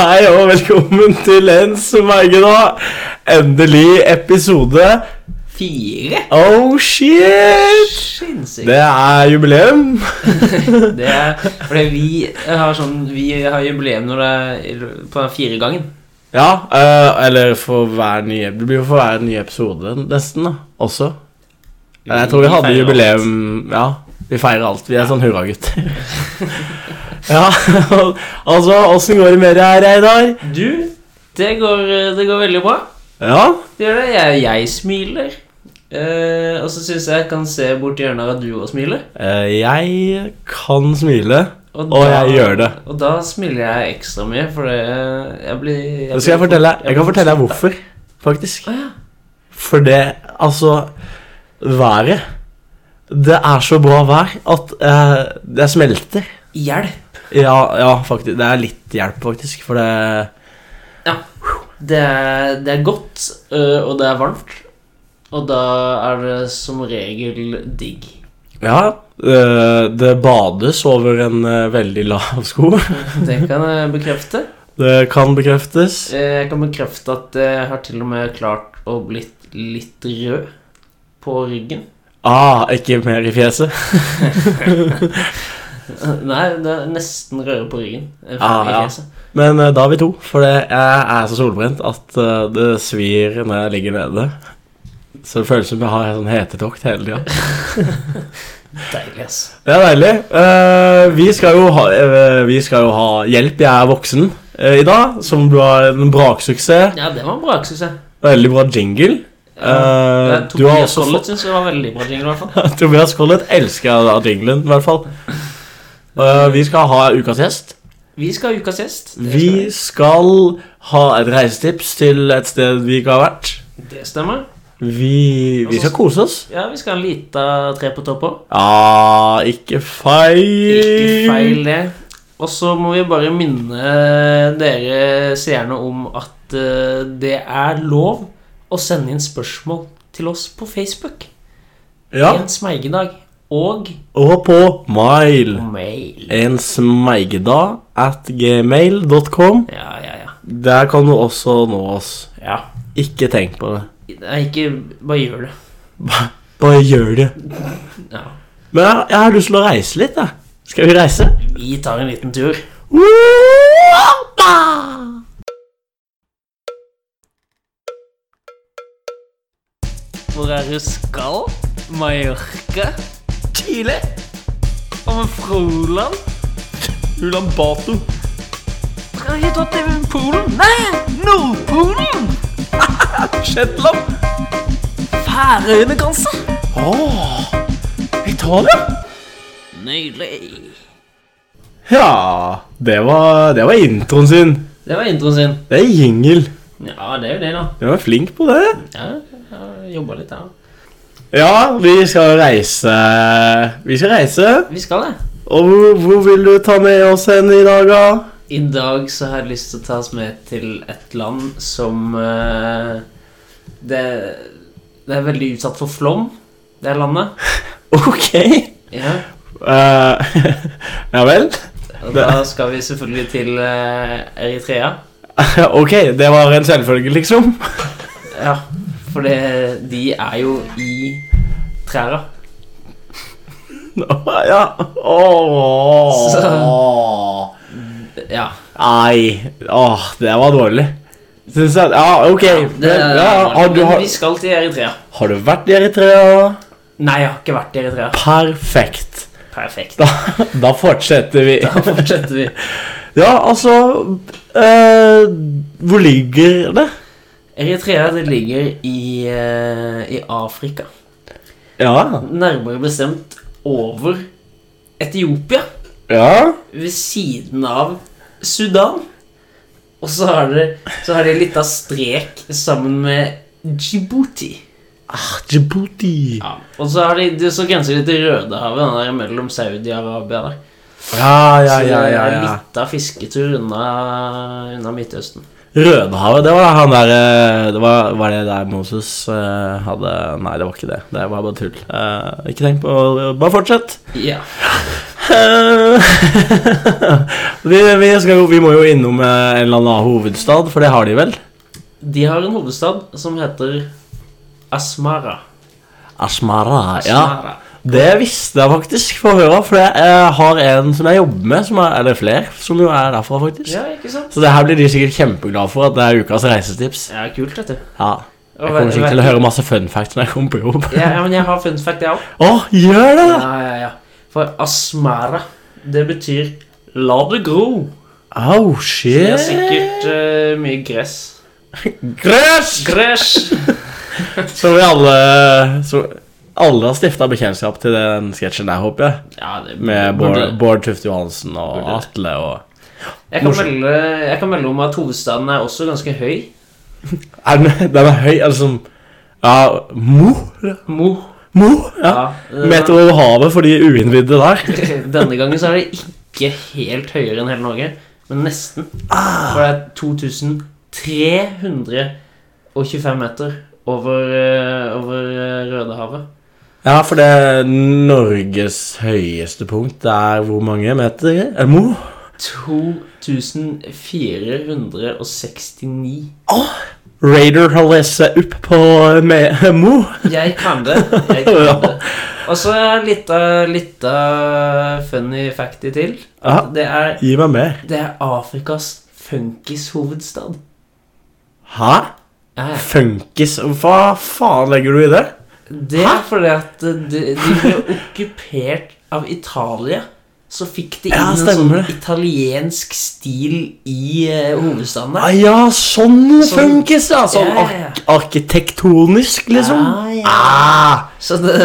Hei og velkommen til Lens og Bergen og endelig episode Fire? Oh shit! Sinnssykt. Det er jubileum. Det er fordi vi har sånn Vi har jubileum når det er på firegangen. Ja, eh, eller for hver nye Det blir jo for hver nye episode nesten, da. Også. Men Jeg tror vi hadde feirer jubileum Ja, vi feirer alt. Vi er sånn hurragutter. Ja, altså åssen går det med deg, Reidar? alt. Du, det går, eh, det går veldig bra. Ja? Det gjør det. Jeg, jeg smiler. Eh, og så syns jeg jeg kan se bort i hjørnet her at du òg smiler. eh, Jeg kan smile, Og og da- jeg gjør det. Og da smiler jeg ekstra mye, for det jeg blir jeg Det skal jeg blir- fortelle Jeg kan blir- fortelle deg hvorfor, faktisk. Å ja. For det Altså, været Det er så bra vær at eh, det smelter. Hjelp. Ja, ja, faktisk. Det er litt hjelp, faktisk, for det Det er, det er godt, eh, og det er varmt. Og da er det som regel digg. Ja. eh, det bades over en eh, veldig lav sko. Det kan jeg bekrefte. Det kan bekreftes. Eh, Jeg kan bekrefte at jeg har til og med klart å blitt litt rød på ryggen. Ah, ikke mer i fjeset. Nei, det er nesten rød på ryggen. eh, Ah, i ja. fjeset. Men eh, da er vi to, for det, jeg er så solbrent at eh, det svir når jeg ligger nede. Så det føles som jeg har en sånn hetetokt hele tida. Deilig, ass. Det er deilig. Eh, vi, skal jo ha, eh, vi skal jo ha hjelp. Jeg er voksen eh, i dag, som var en braksuksess. Ja, det var en bra, syns jeg. Veldig bra jingle. Eh, Eh, du har Tobias også Collett syns jeg var veldig bra jingle, i hvert fall. fått Tobias Collett elsker da jinglen, i hvert fall. Eh, vi skal ha ukas gjest. Vi skal ha ukas gjest. Det Vi skal ha et reisetips til et sted vi ikke har vært. stemmer. Det stemmer. Vi, vi skal kose oss. Ja, vi skal ha en lita tre på topp òg. Ja, ikke feil. Ikke feil, det. Og så må vi bare minne dere seerne om at eh, det er lov å sende inn spørsmål til oss på Facebook. Ja, En smeigedag og og på Mile. mail. En smeigda at gmail.com. Ja, ja, ja. Der kan du også nå oss. ja. Ikke tenk på det. Nei, ikke bare gjør det. Bare gjør det. Ja. Men jeg, jeg har lyst til å reise litt, jeg. Skal vi reise? Vi tar en liten tur. Hvor er du skal? Mallorca? Chile. Om Froland? Ulan Bato. Skal vi ta til Polen? Nei, Nordpolen! Shetland. Færøyene, kanskje? Åh, Italia. Nydelig. Ja, det var, det var introen sin. Det var introen sin. Det er jingle. Ja, det er jo det, da. Du var flink på det. Ja, jeg har jobba litt, jeg ja. Ja, vi skal reise. Vi skal reise. Vi skal det. Og hvor, hvor vil du ta med oss hen i dag, da? I dag så har jeg lyst til å ta oss med til et land som eh, det, det er veldig utsatt for flom, det landet. Ok. Ja. Eh, ja vel. Og da skal vi selvfølgelig til eh, Eritrea. ok, det var en selvfølge, liksom. Ja, for det, de er jo i trærne. ja. Åh. Ja. Nei. Åh, det var dårlig. Syns jeg Ja, ok. Det, Men, ja, har, du, men har, vi skal til Eritrea. har du vært i Eritrea? Nei, jeg har ikke vært i Eritrea. Perfekt. Perfekt. Da, da fortsetter vi. Da fortsetter vi. Ja, altså eh, Hvor ligger det? Eritrea det ligger i, eh, i Afrika. Ja. Nærmere bestemt over Etiopia. Ja. Ved siden av Sudan. Og så har det, så har det en liten strek sammen med Djibouti. Ah, Djibouti. Ja. Og så, har de, det- så grenser de til Rødehavet, den der mellom Saudi-Arabia der. Ja, ja, ja, Så ja, det er ja. litt av fisketur unna, unna Midtøsten. Rødehavet, det var han der eh, det var, var det der Moses eh, hadde Nei, det var ikke det. Det var bare tull. Eh, ikke tenk på Bare fortsett. Ja. Eh, vi, vi, skal, jo- vi må jo innom eh, en eller annen hovedstad, for det har de vel? De har en hovedstad som heter Asmara. Asmara. Ja, Asmara. det visste jeg faktisk fra før av, for jeg eh, har en som jeg jobber med, som er, eller flere, som jo er derfra, faktisk. Ja, ikke sant? Så det her blir de sikkert kjempeglade for, at det er ukas reisetips. Ja, kult, dette. Ja, Jeg kommer sikkert til å høre masse fun facts når jeg kommer på jobb. ja, ja, men jeg har fun fact, jeg òg. Å, gjør det! da! Ja, ja, ja. For Asmara, det betyr la det gro. Au, Det shit. er sikkert eh, mye gress. Gress! Gress! Som vi alle som alle har stifta bekjentskap til den sketsjen der, håper jeg. Ja, det Med burde- Bård, Bård Tufte Johansen og Burde. Atle og Jeg kan, Morsom. melde, jeg kan melde om at hovedstaden er også ganske høy. er den, den er høy, altså som Ja, Mo? Mo. Mo? Ja. eh, Meter over havet for de uinnvidde der. Denne gangen så er det ikke helt høyere enn hele Norge, men nesten. For det er 2325 meter over, eh, over eh, Rødehavet. Ja, for det er Norges høyeste punkt Det er hvor mange meter? Er det Mo? 2469. Raider har lest seg opp på med, Mo. Jeg kan det. Jeg kan det. Og så er litt av litt av funny facty til. Ja, Det er, gi meg mer. det er Afrikas funkishovedstad. Hæ? Ja, ja. Funkis? Hva faen legger du i det? Det er fordi at eh, de, de ble okkupert av Italia. Så fikk de inn Ja, en sånn stemmer det. italiensk stil i eh, hovedstaden. Ah, der. ja, sånn Sånn- funkis, ja! Sånn Ja, ja, ja. ark arkitektonisk, liksom. Ja, ja. Ah, Så, det,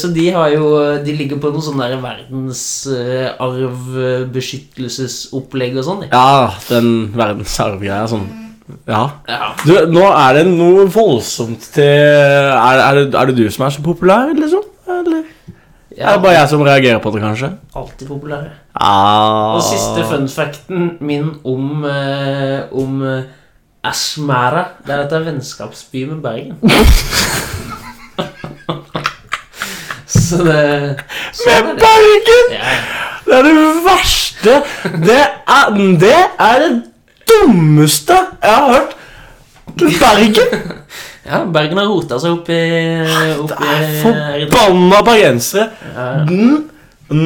så de har jo De ligger på noe sånn der verdensarvbeskyttelsesopplegg og sånn. de. ja, den verdensarvgreia sånn. Ja. Ja. Du, nå er det noe voldsomt til Er, er, det, er det du som er så populær, liksom? Eller er det ja bare jeg som reagerer på det, kanskje? alltid populære. Ah. Og siste fun facten min om, eh, om eh, Asmara Det er at det er vennskapsby med Bergen. så det så er Med det. Bergen! Ja, Det er det verste! Det er det, er det dummeste jeg har hørt. Bergen! ja, Bergen har rota seg opp i, opp Det i er forbanna bergensere. Ja. Mm,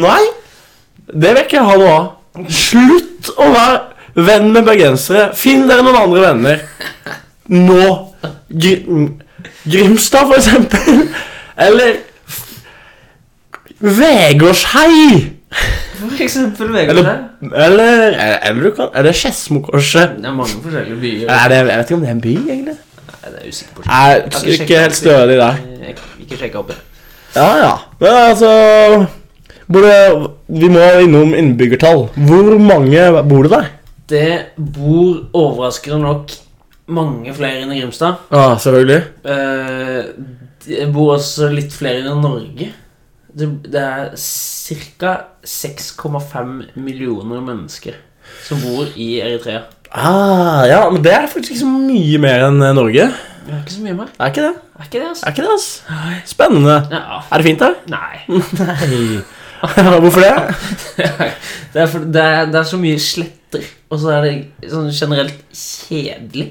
Nei, det vil ikke jeg ha noe av. Slutt å være venn med bergensere. Finn dere noen andre venner. Nå. Gr Grimstad, for eksempel. Eller f- Vegårshei. For eksempel Vegard. Eller, eller, eller du kan Er det Skedsmo, kanskje? Det er mange forskjellige byer. Er det, jeg vet ikke om det er en by, egentlig. Nei, det er jeg usikker på. Jeg er ikke helt stødig der. Eh, Jeg kan Ikke sjekka opp det. Ja, ja. Men altså både, Vi må innom innbyggertall. Hvor mange bor det der? Det bor overraskende nok mange flere enn i Grimstad. Ja, selvfølgelig. Eh, Det bor også litt flere enn i Norge. Det, det er ca. 6,5 millioner mennesker som bor i Eritrea. Ah, ja, men det er faktisk ikke så mye mer enn eh, Norge. Det er ikke så mye mer. Er ikke det? Er ikke det, altså? Er ikke det, ass? Spennende. Ja. Er det fint der? Nei. Nei. Hvorfor det? Det er, for, det, er, det er så mye sletter, og så er det sånn generelt kjedelig.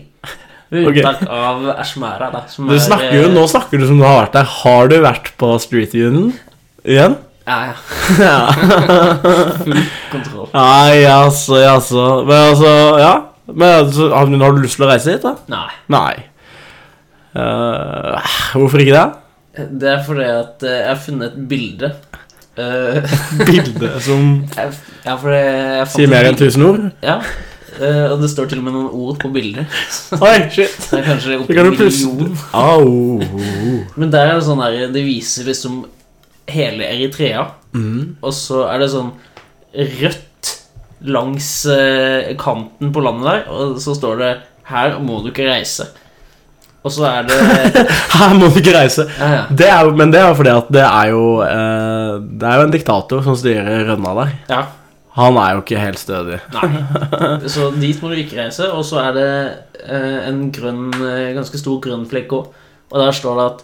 Med Ok. unntak av Ashmara, da. Som Du snakker jo, eh, nå snakker du som du har vært der. Har du vært på Street Union igjen? Ja, ja. Ja. Kontroll. Nei, altså, altså. Men altså, ja. Men altså, har du har du lyst til å reise hit, da? Nei. Nei. Eh, hvorfor ikke det? Det er fordi at eh, jeg har funnet et bilde. Eh, Bildet som jeg, ja, fordi jeg fant sier mer enn et 1000 bilde. ord? Ja. eh, og det står til og med noen ord på bildet. Så Oi, shit. det er kanskje opp Så til kan en du plutselig million. Au. Men der er det sånn der, det viser liksom hele Eritrea. Mm. Og så er det sånn rødt langs eh, kanten på landet der, og så står det 'Her må du ikke reise'. Og så er det Her må du ikke reise. ja, ja. Det er, jo- men det er jo fordi at det er jo eh, Det er jo en diktator som styrer Rønna der. ja. Han er jo ikke helt stødig. Nei. Så dit må du ikke reise. Og så er det eh, en grønn, eh, ganske stor grønn flekk òg. Og der står det at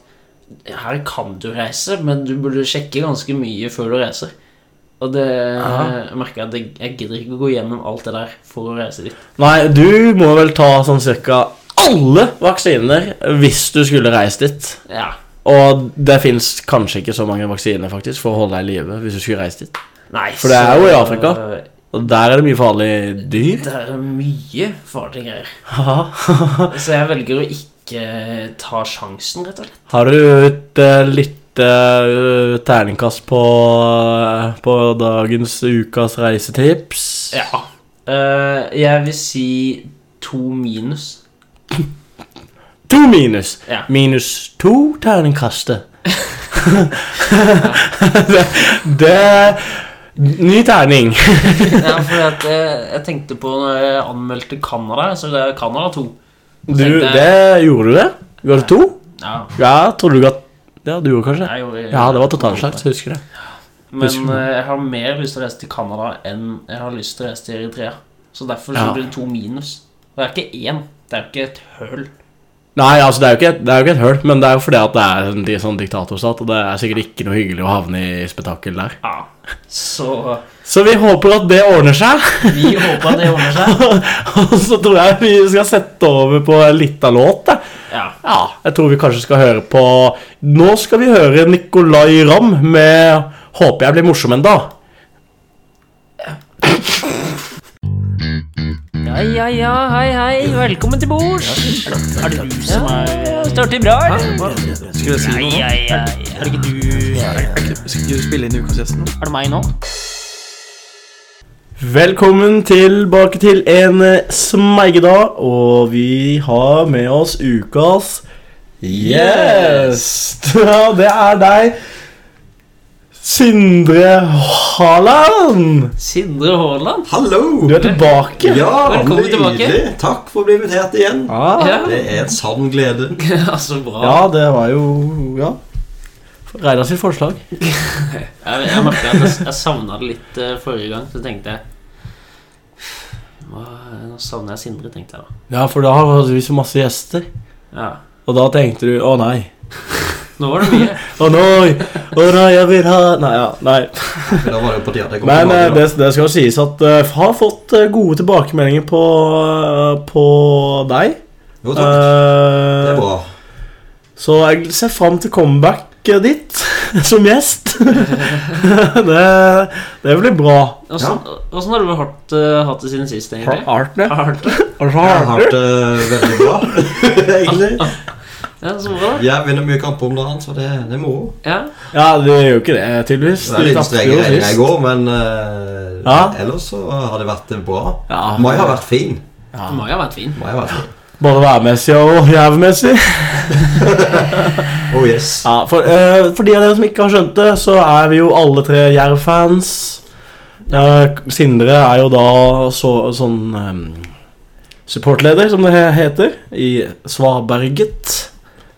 her kan du reise, men du burde sjekke ganske mye før du reiser. Og det Ja. jeg merker jeg at jeg, jeg gidder ikke å gå gjennom alt det der for å reise dit. Nei, du må vel ta sånn cirka alle vaksiner hvis du skulle reist dit. Ja. Og det fins kanskje ikke så mange vaksiner faktisk for å holde deg i live hvis du skulle reist dit. Nei, For det er jo i så- Eh, Afrika. Og der er det mye farlige dyr. Det er mye farlige greier. Haha. Så jeg velger å ikke eh, ta sjansen, rett og slett. Har du et eh, lite eh, terningkast på, eh, på dagens ukas reisetips? Ja. Eh, jeg vil si to minus. To minus. Ja. Minus to terningkastet. det, det Ny terning. Ja, fordi at eh, jeg tenkte på når jeg anmeldte Canada, så det er Canada 2. Du, det gjorde du det? Ga du to? Ja, Ja, tror du at Ja, du gjorde kanskje det? jeg gjorde Ja, det var totalslakt, jeg husker det. Men Husker du? eh, jeg har mer lyst til å reise til Canada enn jeg har lyst til å reise til Eritrea. Så derfor så Ja. blir det to minus. Det er ikke én. Det er ikke et høl. Nei, altså, det er jo ikke, et- det er jo ikke et høl, men det er jo fordi at det er en di- sånn diktatorstat, og det er sikkert ikke noe hyggelig å havne i spetakkel der. Ja. Så Så vi håper at det ordner seg, vi håper at det ordner seg. og så tror jeg vi skal sette over på en liten låt, da. Ja. Ja, jeg tror vi kanskje skal høre på Nå skal vi høre Nicolay Ramm med 'Håper jeg blir morsom en dag'. Ja, ja, ja, hei, hei, velkommen til bords. Er det du som er Ja, Står til bra, eller? Skulle jeg si noe? Ja, ja, ja. Er det ikke du Er Skulle du spille inn i ukas gjest nå? det meg nå? Velkommen tilbake til en eh, smeigedag, og vi har med oss ukas gjest. Ja, det er deg, Sindre Haaland. Sindre Haaland? Hallo! Du er tilbake. Ja, Velkommen tilbake. nydelig. Takk for å bli invitert igjen. Ja, Ja. Det er en sann glede. Ja, så bra. ja det var jo Ja. Reidar sitt forslag. Jeg, jeg merket at jeg, jeg savna det litt eh, forrige gang, så tenkte jeg hva, Nå savner jeg Sindre, tenkte jeg da. Ja, for da hadde vi så masse gjester, Ja. og da tenkte du 'Å nei'. Nå var det mye. Å nei, å nei, jeg vil ha Nei, ja, nei. Men Da var det på tide at jeg kom Men eh, tilbake. det, det skal jo sies at jeg har fått eh, gode tilbakemeldinger på, eh, på deg. Da. Jo, takk. Det Eh, er bra. så jeg ser fram til comebacket ditt som gjest. det, det blir bra. Åssen åssen sånn, har du hatt, eh, hatt det siden sist, egentlig? Artner. Har du det? Eh, Jeg har hatt det veldig bra, egentlig. Ja, så bra. Jeg vinner mye kamper om dagen, så det, det er moro. Ja. Ja, du gjør jo ikke det, tydeligvis. Det er Du litt tapte strenge jo regninger sist. i går, men eh, Ja. ellers så har det vært bra. Ja. Mai har vært fin. Det må jo ha vært fin. Mai har vært fin. Både værmessig og jævmessig. Oh yes. Ja, for, eh, for de av dere som ikke har skjønt det, så er vi jo alle tre Jerv-fans. Eh, Sindre er jo da så, sånn eh, supportleder, som det he- heter, i Svaberget.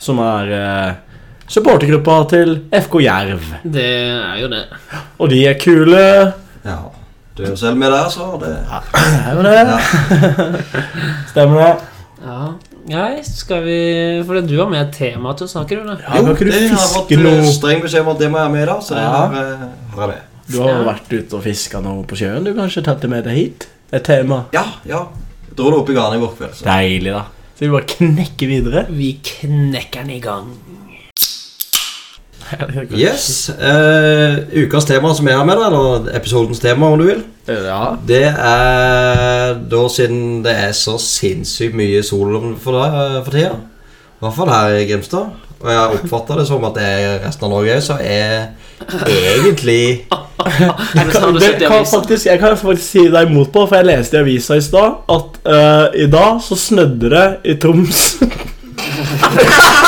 Som er eh, supportergruppa til FK Jerv. Det er jo det. Og de er kule. Ja. Du er jo selv med der, så det Det er jo det. ja. Stemmer det? Ja. Nei, skal vi Fordi du var med i temaet til å snakke, du, da. Ja, kan ikke du det har jeg fått fiske eh, noe streng beskjed om at det må jeg ha med i dag, så Ja. det har, eh, har jeg med. Du har vært ute og fiska noe på sjøen, du kanskje? Tatt det med deg hit? Et tema. Ja, ja. Jeg dro det opp i garnet i går kveld. Så. Deilig, da. Så vi bare knekker videre. Vi knekker den i gang. Yes. eh, ukas tema som jeg har med deg, eller episodens tema, om du vil, Ja. det er da siden det er så sinnssykt mye sol om for, deg, eh, for tida, i hvert fall her i Grimstad, og jeg oppfatter det som at det er resten av Norge òg, så er egentlig Har du- har du det sett det i kan avisen? faktisk, jeg kan faktisk si deg imot på, for jeg leste i avisa i stad at eh, i dag så snødde det i Troms.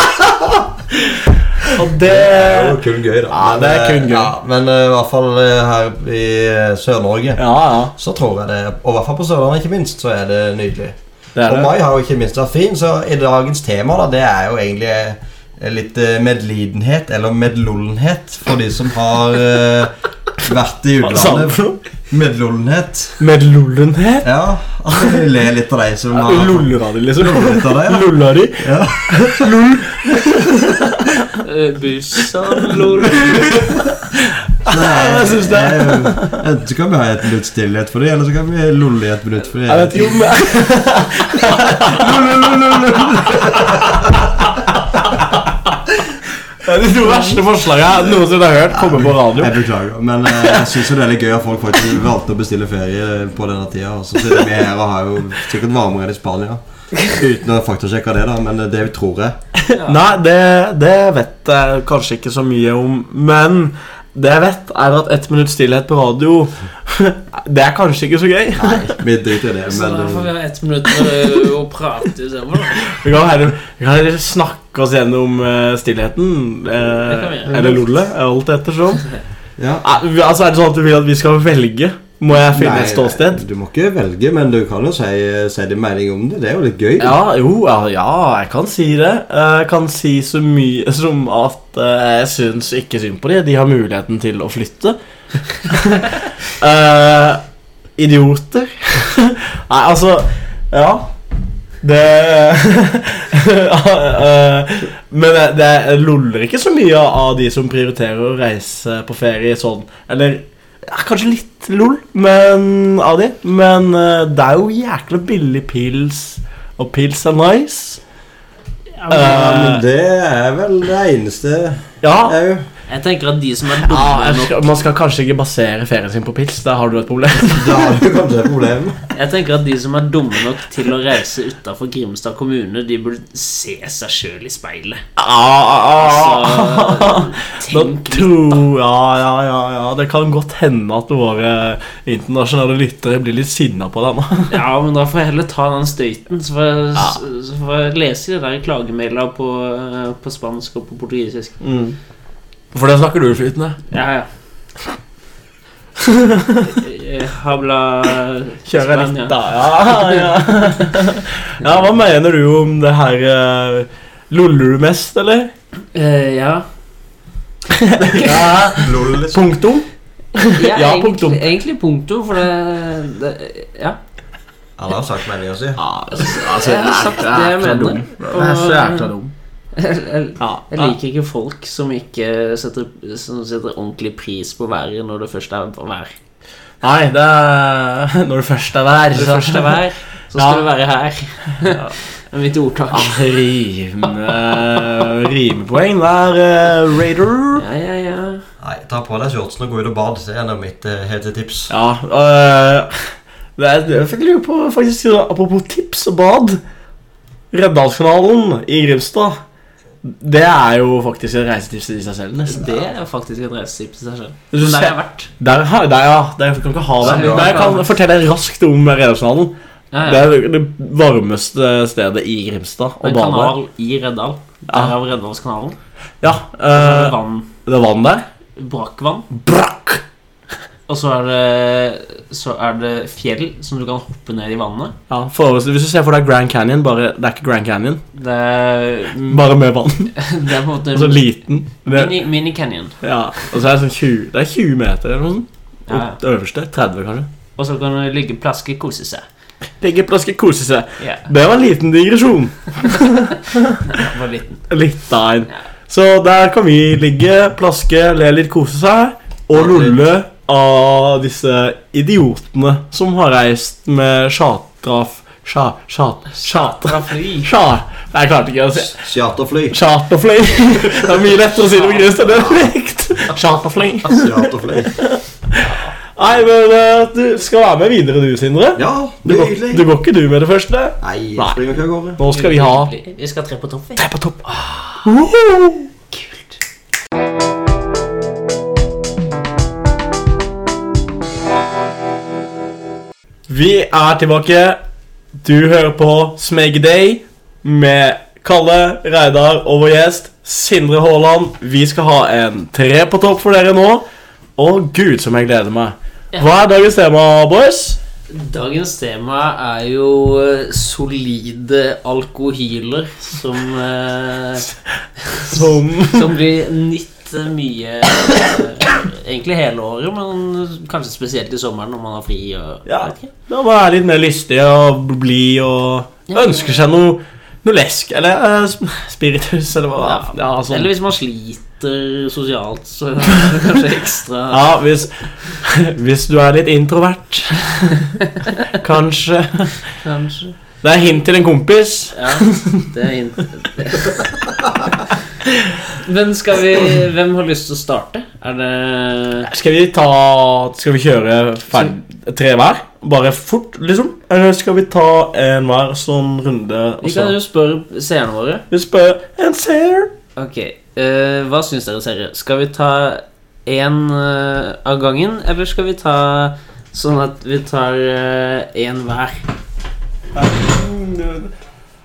Og Det er jo det kun gøy, da. Ja, det er Men, eh, kun gøy. Ja, men eh, i hvert fall eh, her i eh, Sør-Norge Ja, ja. så tror jeg det, og i hvert fall på Sørlandet ikke minst, så er det nydelig. Det er Og det. mai har jo ikke minst vært fin, så i dagens tema da, det er jo egentlig eh, litt eh, medlidenhet, eller medlollenhet, for de som har eh, vært i Hva sa du utlandet. for noe? Medlollenhet. Med lollen her? Ja, jeg ler litt av deg som har Lollera di, liksom. lollet av deg. Lolla di. Ja. Eh, Bussa lol. Jeg syns det. Enten så kan vi ha et minutt stillhet for det, eller så kan vi lolle i et minutt for det. Jeg vet ikke om jeg Det er de to verste forslagene jeg noensinne har hørt komme på radio. Jeg beklager, men eh, jeg syns det er litt gøy at folk faktisk valgte å bestille ferie på denne tida. Og så sitter vi her og har jo sikkert varmere enn i Spania. Uten å faktasjekke det, da, men eh, det tror jeg. Nei, det, det vet jeg kanskje ikke så mye om, men det jeg vet, er at ett minutts stillhet på radio Det er kanskje ikke så gøy. Nei, vi driter i det, Så men da får vi eh, ha ett minutt øh, å prate istedenfor. da. Vi kan heller, vi kan heller snakke oss gjennom eh, stillheten. Det kan vi eh, gjøre. Eller lollet, alt ettersom. ja. Er, altså, er det sånn at du vil at vi skal velge? Må jeg finne Nei, et ståsted? Du må ikke velge, men du kan jo si, si din mening om det. Det er jo litt gøy. Ja, jo, ja, ja, jeg kan si det. Eh, Jeg kan si så mye som at eh, jeg syns ikke synd på dem. De har muligheten til å flytte. Eh, idioter. Nei, altså Ja. Det Eh, Men det- det loller ikke så mye av de som prioriterer å reise på ferie sånn. Eller ja, kanskje litt lol men, av de, men eh, det er jo jækla billig pils. Og pils er nice. Eh, Ja, men det er vel det eneste Ja, òg. Jeg tenker at de som er ja dumme jeg nok skal, Man skal kanskje ikke basere ferien sin på pils. Der har du et problem. Da har du kanskje et problem. Jeg tenker at de som er dumme nok til å reise utafor Grimstad kommune, de burde se seg sjøl i speilet. Ah, Så Da tenk tror ja, ja, ja, ja. Det kan godt hende at våre internasjonale lyttere blir litt sinna på deg nå. Ja, men da får jeg heller ta den støyten. Så får jeg, Ah. så får jeg lese de der klagemaila på, eh, på spansk og på portugisisk. For det snakker du flytende. Ja, ja. Eh, Habla Kjører Spania. litt, da. Ja, ja. ja, hva mener du om det her eh, Loller du mest, eller? Eh, ja. Ja, Lol, liksom. Punktum? Ja, Ja, egentlig- punktum. Egentlig punktum, for det, det Ja. Alle har sagt meninga si. Ja, Altså, jeg har sagt det jeg mener. Jeg er så jækla dum. Jeg, jeg, Ja, jeg liker ikke folk som ikke setter, som setter ordentlig pris på været når det først er vær. Nei, det er Når det først er vær, Når det først er vær, så skal Ja. det være her. Det er mitt ordtak. Ah, rime, rimepoeng der, eh, Raider. Ja, ja, ja. Nei, ta på deg shortsen og gå ut og bad. Det er nå mitt eh, hete tips. Ja, øh, det er, jeg fikk lure på faktisk sånn, Apropos tips og bad Reddalskanalen i Grimstad Det er jo faktisk et reisetips i seg selv nesten Det er faktisk et reisetips i seg selv. Hvis du Men der ser- har jeg vært. Der, har- der, ja, der kan ikke ha det Så bra. Men jeg kan fortelle raskt om Reddalskanalen Ja, Det ja. er det varmeste stedet i Grimstad Og Å en bade kanal i Reddal. Derav Reddalskanalen. Ja, Så er det øh, vann, det er vann der brakkvann. Brakk Og så er det Så er det fjell som du kan hoppe ned i vannet. ja, for, Hvis du ser for deg Grand Canyon bare, Det er ikke Grand Canyon Det er, mm, Bare med vann det er på en måte Så liten det, mini, mini Canyon. Ja, og så er det sånn 20, det er 20 meter eller noe sånt. Ja, ja. Opp- Øverste. 30, kanskje. Og så kan du ligge, plaske, kose seg. Ligge plaske, kose seg. Ja, Det var en liten digresjon. jeg var liten. Litt av en. Så der kan vi ligge, plaske, le litt, kose seg og lolle av disse idiotene som har reist med charterfly Sja... Sjat... Sjat... Fra fly. Sja... Jeg klarte ikke å si Charterfly. Charterfly. Det er mye lettere å si det på grunn av dialekt. Charterfly. Charterfly. Nei, men eh, du skal være med videre, du, Sindre. Ja, Du går, nydelig. du går ikke du med det første? Nei, Nei. jeg springer ikke av gårde. Nå skal vi ha Vi skal tre på topp. vi. Tre på topp. Woho! Vi er tilbake. Du hører på Smegday med Kalle, Reidar og vår gjest Sindre Haaland. Vi skal ha en tre på topp for dere nå. Og gud, som jeg gleder meg. Hva er dagens tema, boys? Dagens tema er jo eh, solide alkohiler som eh, Som Som blir nytt mye eh, Egentlig hele året, men kanskje spesielt i sommeren når man har fri. Og, Ja. vet ikke. Da må være litt mer lystig og blid og Ja. ønsker seg noe, noe lesk eller eh, sp- spiritus eller hva det er. Ja, sånn. Eller hvis man sliter bitter sosialt, så er det kanskje ekstra Ja, hvis, hvis du er litt introvert Kanskje Kanskje. Det er hint til en kompis Ja, det er hint. Men skal vi Hvem har lyst til å starte? Er det Skal vi ta Skal vi kjøre ferd- tre hver? Bare fort, liksom? Eller skal vi ta en hver sånn runde? og Vi så- kan jo spørre seerne våre. Vi spør en seer. Ok, eh, hva syns dere, seere? Skal vi ta én av gangen, eller skal vi ta sånn at vi tar én hver?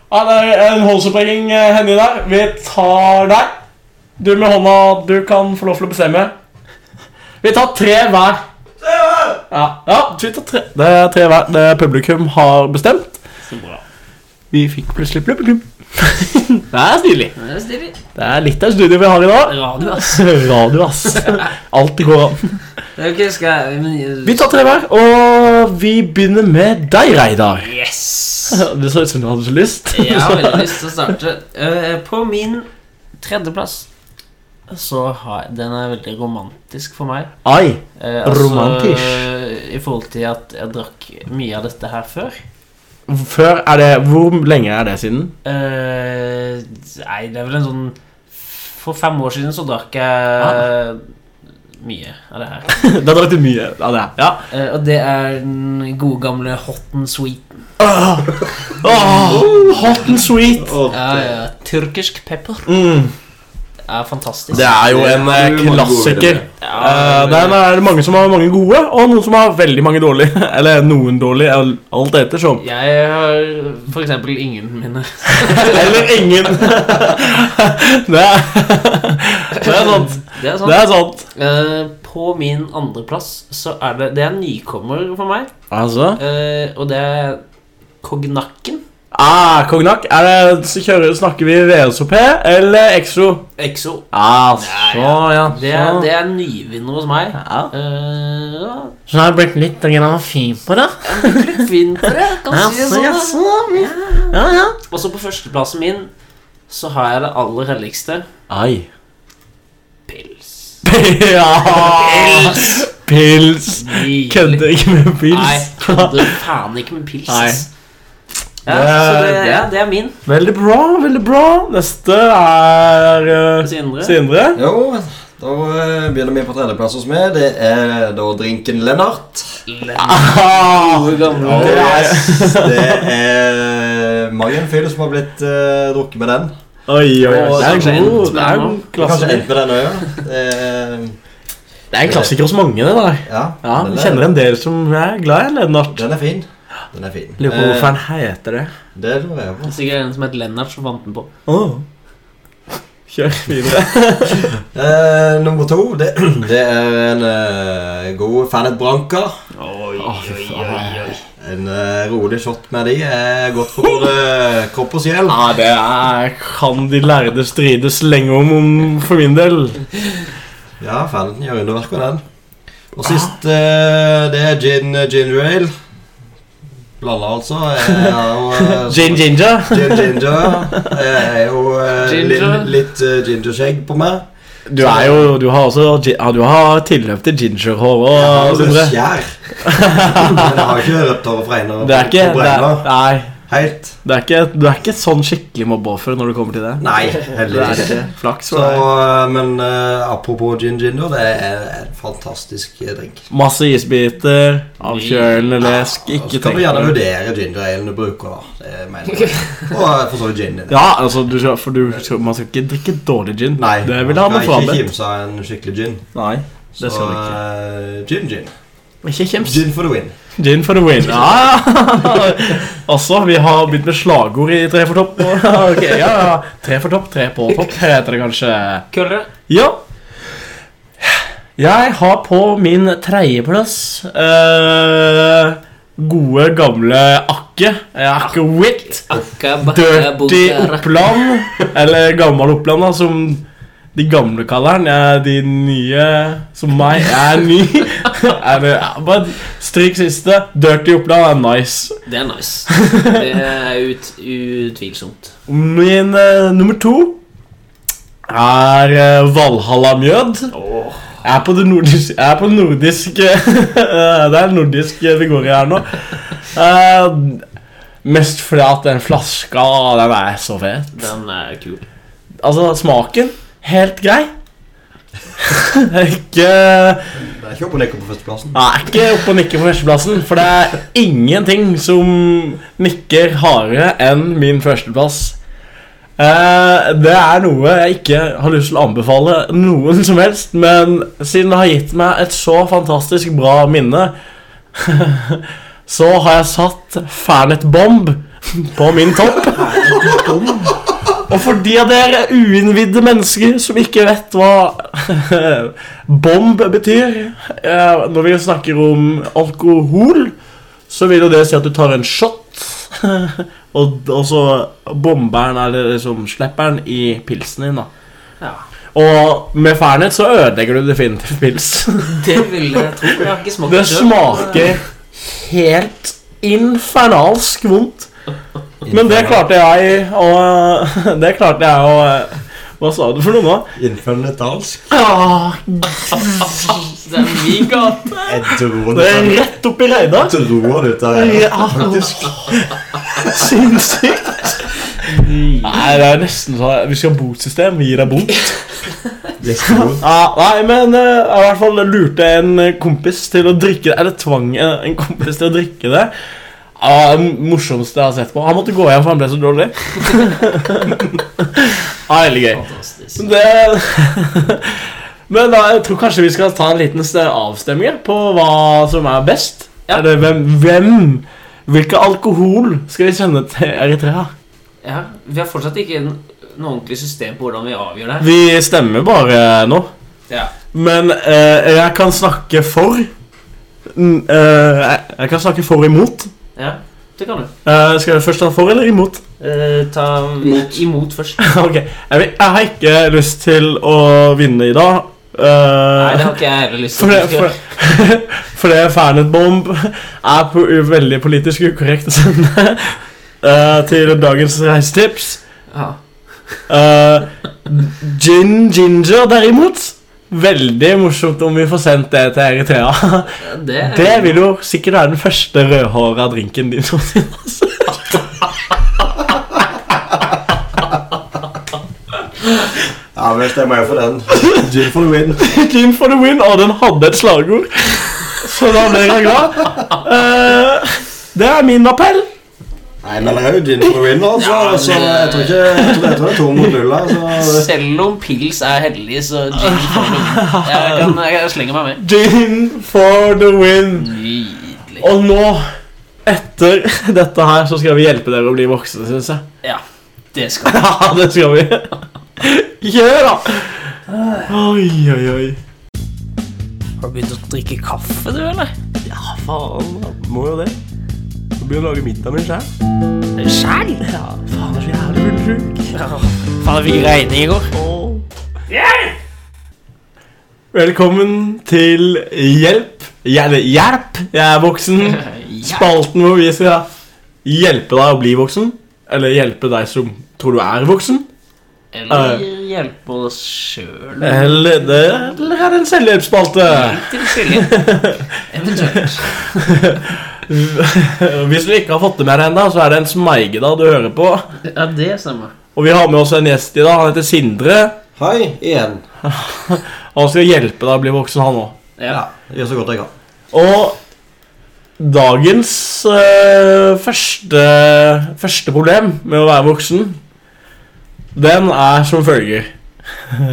Ja, det er en håndsopprekking eh, Henny der. Vi tar deg. Du med hånda, du kan få lov til å bestemme. Vi tar tre hver. Ja, ja vi tar tre. Det er tre hver. Det publikum har bestemt. Så bra. Vi fikk plutselig publikum. det er stilig. Det er stilig. Det er litt av studio vi har i dag. Radio, ass. Radio, ass. Alt går an. Ok, skal jeg men, Vi tar tre hver, og vi begynner med deg, Reidar. Yes! Det så ut som du hadde så lyst. Jeg har veldig lyst til å starte. Eh, på min tredjeplass så har jeg Den er veldig romantisk for meg. Ai. Eh, Romantisk. I forhold til at jeg drakk mye av dette her før. Før er det Hvor lenge er det siden? Eh, nei, det er vel en sånn For fem år siden så drakk jeg Ah. mye av det her. Da drakk du mye av det. Ja. Eh, og det er den gode gamle hot and sweet. Åh, Ah! hot eh. and sweet. Ja, ja. Tyrkisk pepper. Mm. er fantastisk. Det er jo en eh, klassiker. Eh, den er det mange som har mange gode, og noen som har veldig mange dårlige. Eller noen dårlige, eller alt etter sånn. Jeg har for eksempel ingen mine. Eller ingen. det, er, det er sant. Det er sant. Det er sant. Eh, på min andreplass så er det Det er en nykommer for meg, Altså eh, og det er Kognakken. ah, Kognak, er det, så kjører, snakker vi VSOP eller Exo? Exo. Ah, Ja, så, ja. ja. Det er, det er en nyvinner hos meg. Ja. Eh, ja, Så har jeg blitt litt fin på det. litt fin på det, kan si det sånn. da. Altså, Ja, ja. Og så på førsteplassen min så har jeg det aller helligste Ai. pils. Ja. Pils! Nydelig. Kødder ikke med Nei, pils. kødder faen ikke med pils. Nei. ass. Ja, så det, ja, det er min. Veldig bra, veldig bra. Neste er eh, Sindre. Sindre. Jo, da eh, begynner vi på tredjeplass hos meg. Det er da drinken Lennart. Ah, Og det er mange en fyr som har blitt eh, drukket med den. Oi, oi, oi. Og Det er kanskje en god. endt med Det er en noe. Kanskje klassiker. endt med den òg, ja. Det er en klassiker hos mange, det der. Ja, Ja, den Vi er- kjenner en del som er glad i Lennart. Den er fin. Den er fin. Lurer på Eh, hvorfor han heter det. Det lurer jeg på. Det er sikkert en som het Lennart som fant den på. Åh. Kjør videre. Eh, nummer to, det, det er en eh, god Fanet Branca. Oi, oi, oi, En eh, rolig shot med de er godt for både kropp og sjel. Ja, det er Kan de lærde strides lenge om, om for min del. Ja, Fanet gjør underverk med den. Og sist, eh, det er gin ginger ale. Blanda, altså. Jeg har jo, eh, Gin Ginger. Gin ginger. Jeg er jo eh, Ginger. litt, litt eh, gingerskjegg på meg. Du er jo Du har også gi- ja, Du har tilløp til gingerhår og Jeg har Sindre. jo skjær. Men jeg har ikke rødt hår og fregner. Det er ikke og det er, bregner. Nei. Helt. Det er ikke, du er ikke sånn skikkelig mobbeoffer når du kommer til det. Nei, Det er heldigvis ikke. ikke flaks. altså. Så, for deg. eh, men eh, apropos gin ginger, det er en fantastisk eh, drink. Masse isbiter, avkjølende lesk, altså, Og så ikke kan tenk du gjerne på det. vurdere ginger ale du bruker, da. Det mener jeg. Og eh, for så vidt gin din. Ja, altså, du skal, for du skal, man skal ikke drikke dårlig gin. Nei, det vil han ha man skal ikke frabedt. kimse av en skikkelig gin. Nei, Så det skal du ikke. eh, gin, gin. Ikke kjems. Gin for the win. Gin for the win. Ja. Altså, vi har begynt med slagord i Tre for topp. Ok, ja, ja. Tre for topp, tre på topp, heter det kanskje. Kørre. Ja. Jeg har på min tredjeplass eh, gode, gamle Akke. Eh, Akke Wit. Akka, Dirty Oppland. Eller gammel Oppland, da, som de gamle kaller den. Jeg er de nye som meg. Jeg er ny. er det, ja, bare stryk siste. Dirty Oppland er nice. Det er nice. Det er ut, utvilsomt. Min eh, nummer to er eh, Valhalla-mjød. Jeg er på det nordiske, jeg er på det nordiske Eh, Det er nordisk vi går i her nå. Eh, mest fordi at den flaska Den er så fet. Den er kul. Altså, smaken helt grei. ikke Det er ikke opp og nikke på førsteplassen. Nei, ikke opp og nikke på førsteplassen, for det er ingenting som nikker hardere enn min førsteplass. Eh, det er noe jeg ikke har lyst til å anbefale noen som helst, men siden det har gitt meg et så fantastisk bra minne, så har jeg satt Fernet Bomb på min topp. Og for de av dere uinnvidde mennesker som ikke vet hva bomb betyr eh, Når vi snakker om alkohol, så vil jo det si at du tar en shot, og, og så bomberen, eller liksom slipperen, i pilsen din, da. Ja. Og med fernet så ødelegger du definitivt pils. Det ville jeg tro. Jeg har ikke smakt Det selv, men- smaker helt infernalsk vondt. Men det klarte jeg å Det klarte jeg å Hva sa du for noe nå? Infernetalsk. Ah, Det er min gate. Jeg tror det er rett oppi Reidar. Jeg tror det ut av Ja, Ah, faktisk. Sinnssykt. Nei, det er nesten sånn Vi skal ha botsystem. Vi gir deg bot. Destinasjon. Ja, nei, men eh, jeg i hvert fall lurte en eh, kompis til å drikke det. Eller tvang eh, en kompis til å drikke det. Ja, det morsomste jeg har sett på. Han måtte gå hjem, for han ble så dårlig. ja, veldig gøy. Fantastisk. Det Men da, jeg tror kanskje vi skal ta en liten st- avstemning ja, på hva som er best. Ja. Eller hvem, hvem Hvilken alkohol skal vi sende til Eritrea? Ja, vi har fortsatt ikke n- noe ordentlig system på hvordan vi avgjør det. her. Vi stemmer bare nå. Ja. Men eh, jeg kan snakke for N- eh, jeg, jeg kan snakke for og imot. ja, det kan du. Eh, skal jeg først ta for eller imot? Eh, ta imot først. ok, jeg, vil, jeg har ikke lyst til å vinne i dag. Nei, Eh, det har ikke jeg heller lyst for til. det, å for, gjøre. for det Fernet Bomb er på, veldig politisk ukorrekt å sende eh, til dagens reisetips. Ja. Eh, gin Ginger, derimot Veldig morsomt om vi får sendt det til Eritrea. Det, Det vil jo sikkert være den første rødhåra drinken din. Mathias. Ja, men stemmer jeg for den. Gin for the win. Gin for the win, og den hadde et slagord. Så da ble jeg glad. Eh, det er min appell. Nei, men det er jo gin for the win, altså. så jeg tror ikke Jeg tror, jeg tror det er to mot null altså. her. Så Selv om pils er heldig, så gin får du. Jeg, kan, jeg slenger meg med. Gin for the win. Nydelig. Og nå, etter dette her, så skal vi hjelpe dere å bli voksne, syns jeg. Ja, det skal du. Ja, det skal vi. Gjør da! Oi, oi, oi. Har du begynt å drikke kaffe, du, eller? Faen, da. må jo det. Så begynner jeg å lage middag min sjæl. Sjæl? Ja. Faen, jeg er så jævlig fullsjuk. Faen, jeg fikk regning i går. Velkommen til Hjelp. Eller Hjelp, jeg er voksen. Spalten hvor vi skal hjelpe deg å bli voksen. Eller hjelpe deg som tror du er voksen. Eller hjelpe oss sjøl. Eller, det, eller er det en selvhjelpsspalte? Til Silje. Eventuelt. Hvis du ikke har fått det med deg ennå, så er det en smeigedal du hører på. Ja, det stemmer. Og vi har med oss en gjest i dag. Han heter Sindre. hei igjen. Han skal hjelpe deg å bli voksen, han òg. Ja. Jeg gjør så godt jeg kan. Og dagens eh, første, første problem med å være voksen, den er som følger.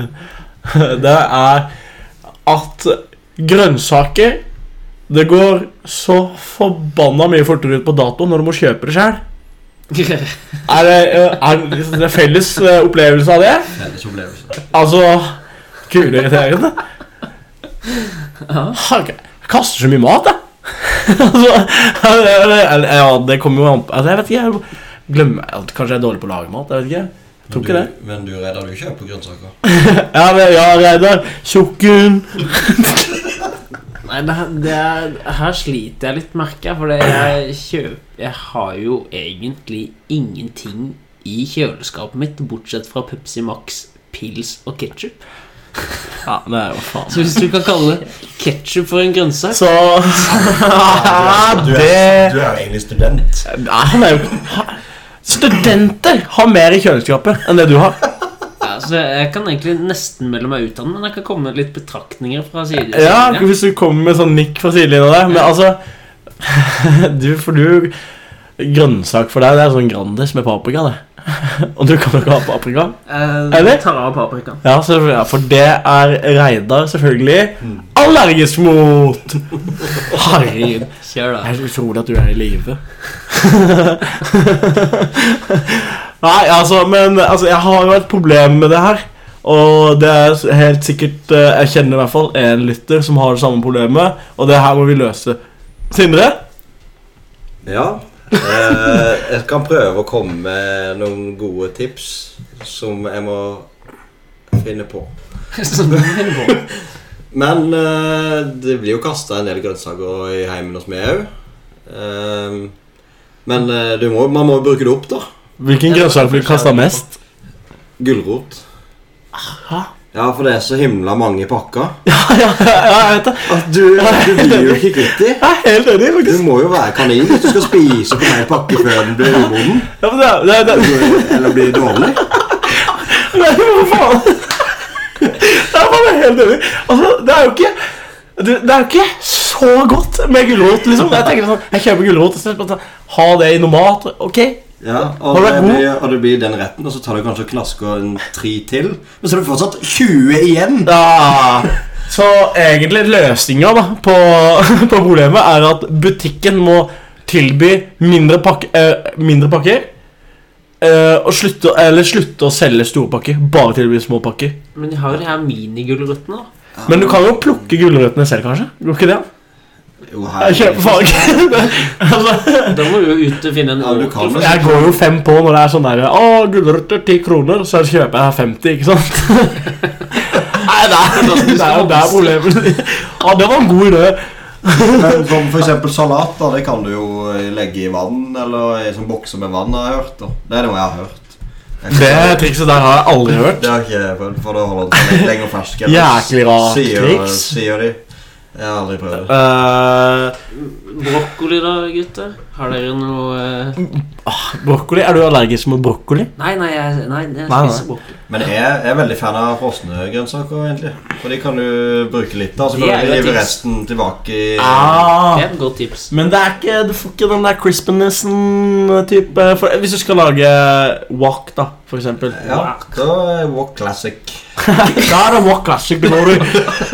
det er at grønnsaker Det går så forbanna mye fortere ut på dato når du må kjøpe det sjøl. Er det, eh, er det felles eh, opplevelse av det? Felles opplevelse. Altså Kuleirriterende. Har- Kaster så mye mat, jeg. altså, eller- eller- ja, det kommer jo an på altså, Jeg vet ikke. Jeg glemmer at Kanskje jeg er dårlig på å lage mat. Jeg vet ikke. Jeg tror ikke det. Men du redder du ikke på grønnsaker? Ja, men, ja Reidar. Tjukken. Nei, det, her- det er, her sliter jeg litt, merker jeg. For jeg kjøper Jeg har jo egentlig ingenting i kjøleskapet mitt, bortsett fra Pepsi Max pils og ketsjup. Ja, det er jo faen Så hvis du kan kalle ketsjup for en grønnsak Så det Du er jo egentlig student. Nei, han er jo ha- Studenter har mer i kjøleskapet enn det du har. ja, Så jeg kan egentlig nesten melde meg ut av den, men jeg kan komme med litt betraktninger fra siden. Ja, Hvis du kommer med sånn nikk fra sidelinja der. Men altså Du, for du Grønnsak for deg, det er sånn Grandis med paprika, det. Og du kan jo ikke ha paprika. Eller? Jeg tar Eh, av paprikaen. Ja, så, ja, for det er Reidar selvfølgelig allergisk mot. Herregud. Kjør, Det da. er så utrolig at du er i live. Nei, altså, men altså, jeg har jo et problem med det her. Og det er s- helt sikkert eh, Jeg kjenner i hvert fall en lytter som har det samme problemet, og det her må vi løse. Sindre? Ja. Eh, jeg kan prøve å komme med noen gode tips som jeg må finne på. Sånn, det Men eh, det blir jo kasta en del grønnsaker i heimen hos meg òg. Eh, men eh, du må, man må jo bruke det opp, da. Hvilken Ja, grønnsak blir kasta mest? Gulrot. Hæ? Ja, for det er så himla mange pakker ja, ja, jeg vet det. at du, du blir jo ikke kvitt dem. Jeg er helt enig, Du faktisk. må jo være kanin hvis du skal spise på en hel pakke før den blir umoden. Ja, men det, er- det, er- det, er- Eller blir dårlig. Nei, hva faen? Det er bare helt enig. Altså, det er jo ikke det, det er jo ikke så godt med gulrot, liksom. Jeg tenker sånn, jeg kjøper gulrot og så bare sånn, ha det i noe mat. Ok? Ja, Har og, du det vært god? blir, og det blir den retten, og så tar du kanskje og knasker en tre til. Men så er det fortsatt 20 igjen. Ja. Så egentlig løsninga da, på, på problemet er at butikken må tilby mindre, pakke, eh, mindre pakker. eh, og slutte, eller slutte å selge store pakker. Bare tilby små pakker. Men de har jo de her minigulrøttene, da. Men du kan jo plukke gulrøttene selv, kanskje? Går ikke det? Jo, Jeg kjøper faen ikke. altså, Da må du jo ut og finne en Ja, du kan ordentlig det. Jeg går jo fem på når det er sånn der Å, gulrøtter 10 kroner, så kjøper jeg 50, ikke sant? Nei, det er, det er jo der problemet Ja, det var en god idé. Men som for eksempel salat, da, det kan du jo legge i vann, eller i sånn bokser med vann, har jeg hørt. da. Det er noe jeg har hørt. Jeg- Det trikset der har jeg aldri hørt. Det har ikke jeg prøvd, for da holder den seg lenger fersk. eller Jæklig rart sier, triks. sier de. Jeg har aldri prøvd det. Eh, brokkoli, da, gutter. Har dere noe eh, Mm. brokkoli? Er du allergisk mot brokkoli? Nei, nei, jeg, nei, jeg Nei, nei. spiser brokkoli. Men jeg er veldig fan av frosne grønnsaker, egentlig. For de kan du bruke litt av, så Det er kan du jo et rive tips. resten tilbake i Det Ah, er et godt tips. men det er ikke, du får ikke den der crispinessen-type for- Hvis du skal lage wok, da, for eksempel. Ja, da er Walk Classic. Da er det Walk Classic, du når du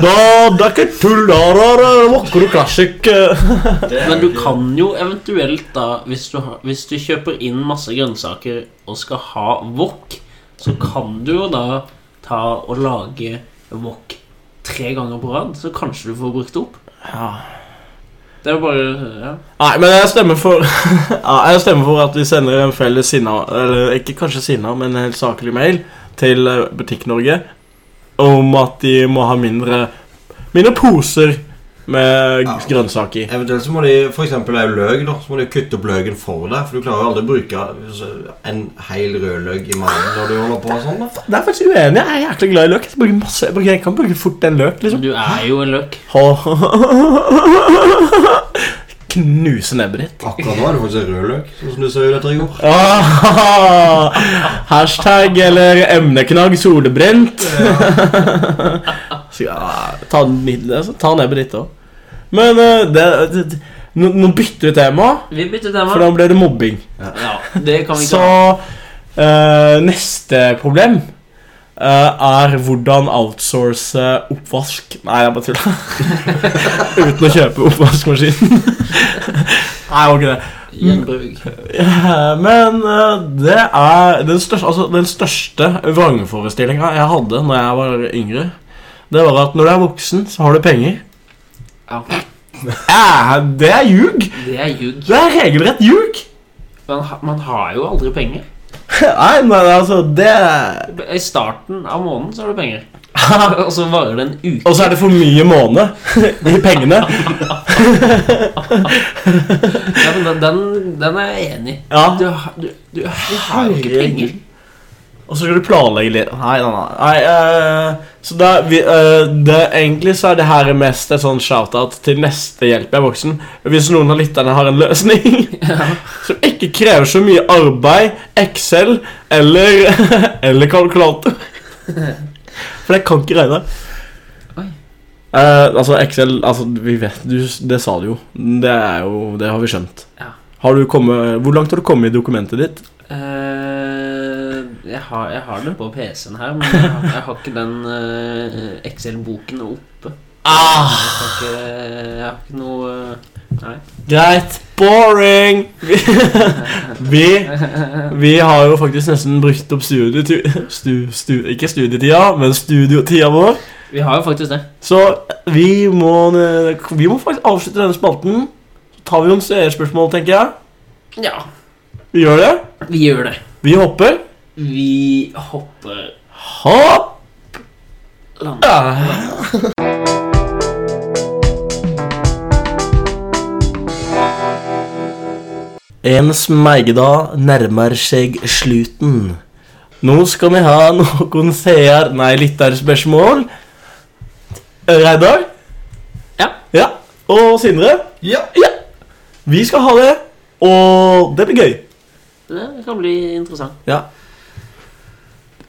da, Det er ikke tull, da da er det Walker og Classic eh. Det er Men du jo- kan jo eventuelt da Hvis du, har, hvis du kjøper inn masse grønnsaker og skal ha wok, så kan du jo da ta og lage wok tre ganger på rad, så kanskje du får brukt det opp. ja. Det er jo bare ja. Nei, men jeg stemmer for ja, Jeg stemmer for at vi sender en felles sinna Eller ikke kanskje sinna, men en helt saklig mail Til eh, Butikk-Norge Om at de må ha mindre Mindre poser Med Ja. grønnsaker i Eventuelt så må de for eksempel er jo løk, da. Så må de kutte opp løken for deg. For du klarer jo aldri å bruke altså, en hel rødløk i magen når du holder på sånn. da Det er faktisk uenig, jeg er jæklig glad i løk Jeg, bruker masse, jeg, bruker, jeg kan bruke fort en løk liksom Du er jo en løk. Knuse nebbet ditt Akkurat nå er det faktisk en rødløk, sånn som du så ut etter i går. Ah, hashtag eller emneknagg solbrent. Så, ja, ta, den- altså, ta nebbet ditt òg. Men eh, det, det, det, nå, nå bytter vi tema, Vi bytter for tema. da blir det mobbing. Ja, det kan vi Så ikke ha. eh, neste problem eh, er hvordan outsource oppvask Nei, jeg bare tuller. Uten å kjøpe oppvaskmaskin. Nei, det var ikke det. Gjenbruk. Eh, Men eh, det er den største, altså, den største vrangforestillinga jeg hadde når jeg var yngre. Det var at når du er voksen, så har du penger. Ja, Eh, det er ljug! det er ljug. Det er regelrett ljug! Man, ha- man har jo aldri penger. Nei, men altså, det I starten av måneden så har du penger. Og så varer det en uke. Og så er det for mye måned i pengene. Ja, men den, den, den er jeg enig i. Ja. Du, har- du, du, du har jo ikke Herregud. penger. Og så skal du planlegge litt Nei, nei, nei. nei eh, så da, vi, eh, det, egentlig så er det her mest et sånn shout-out til neste Hjelp jeg er voksen. Hvis noen av lytterne har en løsning som ikke krever så mye arbeid, Excel eller, eller kalkulator. For jeg kan ikke regne. Oi. Eh, altså, Excel altså, vi vet, du, Det sa du jo. Det, er jo. det har vi skjønt. Ja. Har du kommet, hvor langt har du kommet i dokumentet ditt? Eh, jeg, har, jeg har den på PC-en her, men jeg har, jeg har ikke den eh, Excel-boken oppe. Ah, Jeg har ikke, jeg har ikke noe eh, Nei. greit. Boring! Vi, vi, vi har jo faktisk nesten brukt opp studietu... Stu, stu, ikke studietida, men studiotida vår. Vi har jo faktisk det. Så vi må, vi må faktisk avslutte denne spalten. Så tar vi noen seerspørsmål, tenker jeg. Ja, Vi gjør det. vi gjør det. Vi hopper. Vi hopper Hopp! land. Ja. En smeigdag nærmer seg slutten. Nå skal vi ha noen seer... Nei, lytterspørsmål. Reidar? Ja. ja. Og Sindre? Ja. Ja. Vi skal ha det, og det blir gøy. Det kan bli interessant. Ja.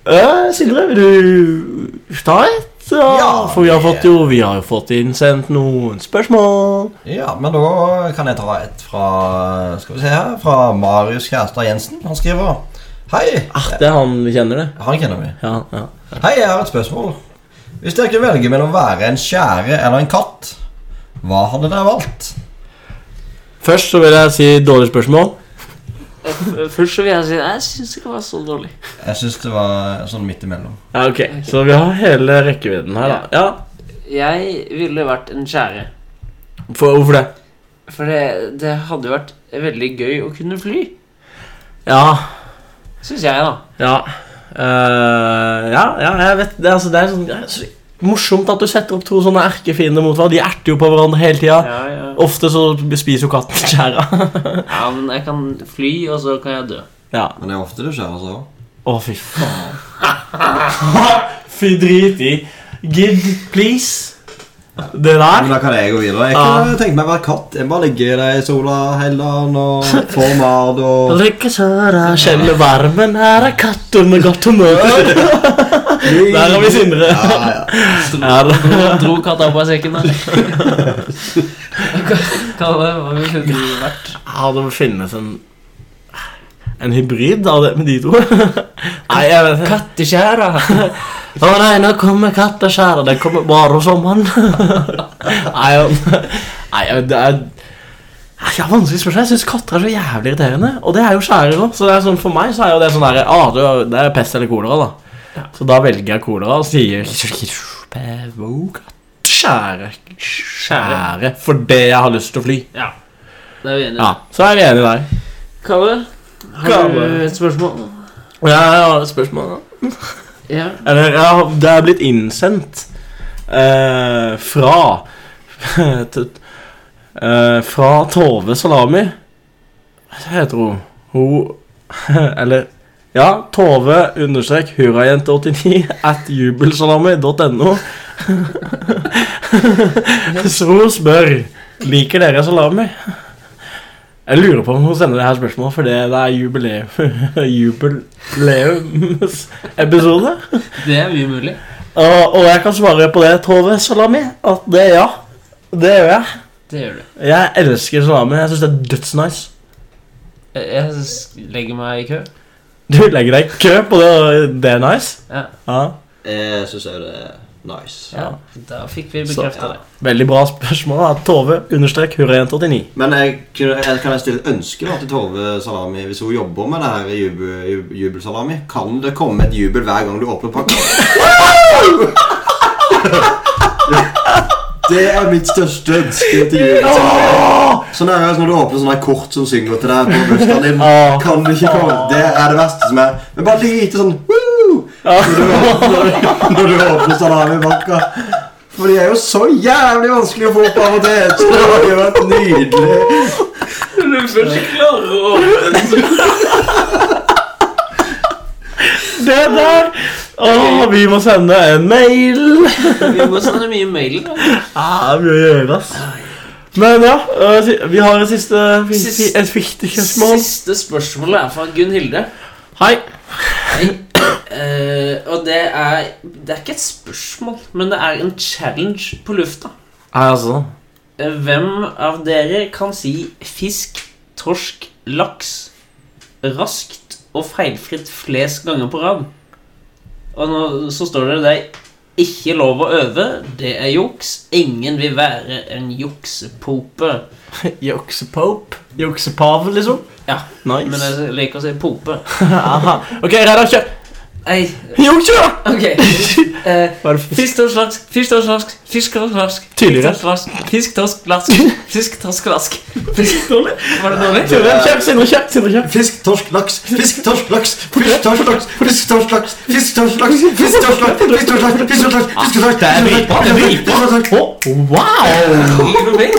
Eh, Sindre, vil du ta et? Ja, Ja, for vi har det- fått jo Vi har jo fått innsendt noen spørsmål. Ja, men da kan jeg ta et fra Skal vi se her Fra Marius Kjærstad Jensen. Han skriver Hei. Ah, det er han vi kjenner, det. Han kjenner vi. Ja, ja. Hei, jeg har et spørsmål. Hvis dere kunne velge mellom å være en skjære eller en katt, hva hadde dere valgt? Først så vil jeg si dårlig spørsmål. Eh, Først så vil jeg si jeg syns det ikke var så dårlig. Jeg syns det var sånn midt imellom. Ja, ok, Så vi har hele rekkevidden her, da. Ja, Jeg ville vært en skjære. for, Hvorfor det? For det, det hadde jo vært veldig gøy å kunne fly. Ja, Syns jeg, da. ja Eh, ja, ja, jeg vet det. Altså, det er sånn det er så morsomt at du setter opp to sånne erkefiender mot hverandre. De erter jo på hverandre hele tida. Ja, ja. Ofte så spiser jo katten skjæra. ja, men jeg kan fly, og så kan jeg dø. ja. Men det er ofte det skjer, altså. Å, fy faen. fy drit i. Gid, please. Det Men der? da kan jeg gå videre. Jeg kunne tenkt meg å være katt. Jeg bare ligger der i sola hele dagen og får mat og Drikke søra, kjenne varmen, her er katter med godt humør. Der har vi Sindre. Ja, ja. Ja, da- Dro, dro katta opp av sekken, da. Hva- Kalle, hva ville du vært? Ja, det må finnes en En hybrid av det med de to. Nei, jeg vet ikke. Katteskjæra. Å nei, nå kommer katteskjæret. Den kommer bare om sommeren. Nei, jeg- nei, jeg- det er Nei, det er vanskelig spørsmål. Jeg syns katter er så jævlig irriterende. Og det er jo skjærer òg. Så det er sånn, for meg så er jo det sånn derre ah, du- Det er pest eller kolera, da. Så da velger jeg kolera og sier Skjære. Skjære. Fordi jeg har lyst til å fly. Ja. Det er vi enige Ja, om. Så er vi enige der. Kalle, har du Kalle. et spørsmål? Ja, jeg har et spørsmål. da. Ja. Eller ja, det er blitt innsendt eh, fra t- eh, Fra Tove Salami. Hva heter hun? Hun Eller Ja, Tove understrek hurrajente89 at jubelsalami.no. Så hun spør Liker dere salami. Jeg lurer på om hun sender det her spørsmålet, for det det er jubileum jubileumsepisode. Det er mye mulig. Og, og jeg kan svare på det, Tove Salami, at det ja. Det gjør jeg. Det gjør du. Jeg elsker salami. Jeg syns det er dødsnice. Jeg, jeg s- legger meg i kø. Du legger deg i kø på det, og det er nice. Ja. Ja. Jeg syns òg det er nice. ja. Da fikk vi Så- bekrefta det. Veldig bra spørsmål. Da. Tove understrek hurrajent89. Men jeg, kunne- jeg, kan jeg stille et ønske da, til Tove Salami hvis hun jobber med det her jubel, jubel, jubelsalami? Kan det komme et jubel hver gang du åpner pakka? Det er mitt største ønske til jubelsalami. Sånn er det når du åpner sånne her kort som synger til deg på bursdagen din. Åh. Kan det ikke komme? Det er det verste som er. Men bare lite sånn woo, når, du åpner, når du åpner salamipakka. For de er jo så jævlig vanskelig å få opp av og til. Så det hadde jo vært nydelig. Du først klarer å Det, der. Åh, vi må sende en mail. Vi må sende mye mail. da. Ah, mye å gjøre, ass. Men ja, eh, si- vi har et siste, fi- Sist- fi- et viktig spørsmål. Siste spørsmålet er fra Gunn-Hilde. Hei. Hei. Eh, og det er Det er ikke et spørsmål, men det er en challenge på lufta. Hei, altså. Eh, Hvem av dere kan si fisk, torsk, laks raskt og feilfritt flest ganger på rad? Og nå så står det det er ikke lov å øve, det er juks. Ingen vil være en juksepope. Juksepope? Juksepav, liksom? Ja, men Nice. jeg liker å si pope. Aha. Ok, Reidar, kjør. Nei, Jukse! ok. Eh, Var det Fisk, torsk, laks, fisk, torsk, laks, fisk, torsk, laks Tydeligere. Fisk, torsk, laks, fisk, torsk, laks, fisk, torsk, laks fisk dårlig? Var det dårlig? Kjør, Sindre, kjør. Sindre, kjør. Fisk, torsk, laks, fisk, torsk, laks, fisk, torsk, laks, fisk, torsk, laks, fisk, torsk, laks, fisk, torsk, laks, fisk, torsk, laks, fisk, torsk, laks, fisk, torsk, laks, fisk, torsk, laks, fisk, torsk, laks. Å, wow! Liker du meg?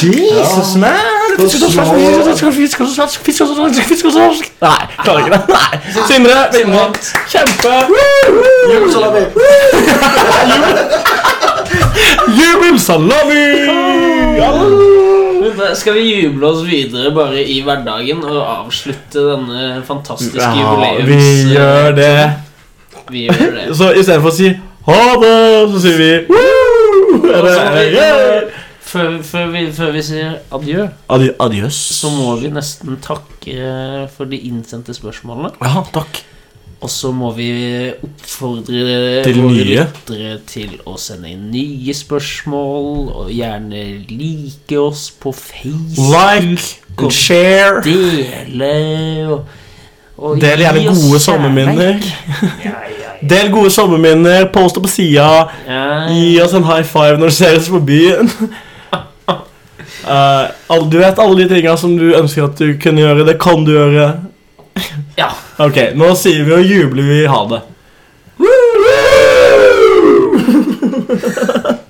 Jesus, man! Nei, klarer ikke det. Nei. Sindre vinner. Kjempe. Jubelsalami. Jubelsalami! Men da Skal vi juble oss videre bare i hverdagen og avslutte denne fantastiske Ja, jubileums... vi gjør det. Vi gjør det. Så istedenfor å si ha det, så sier vi woo! Og så Eller, må vi- yeah! Før, før, vi, før vi sier adjø, Adi Adjøs. så må vi nesten takke for de innsendte spørsmålene. Ja, takk. Og så må vi oppfordre Til våre nye. lyttere til å sende inn nye spørsmål, og gjerne like oss på Facebook. Like and share. Dele og, og Del gi gjerne oss gode kjærleik. sommerminner. Del gode sommerminner, post det på sida. Ja, Gi oss en high five når du ser oss på byen. Eh, alle- du vet alle de tinga som du ønsker at du kunne gjøre. Det kan du gjøre. Ja. Ok, nå sier vi og jubler vi ha det.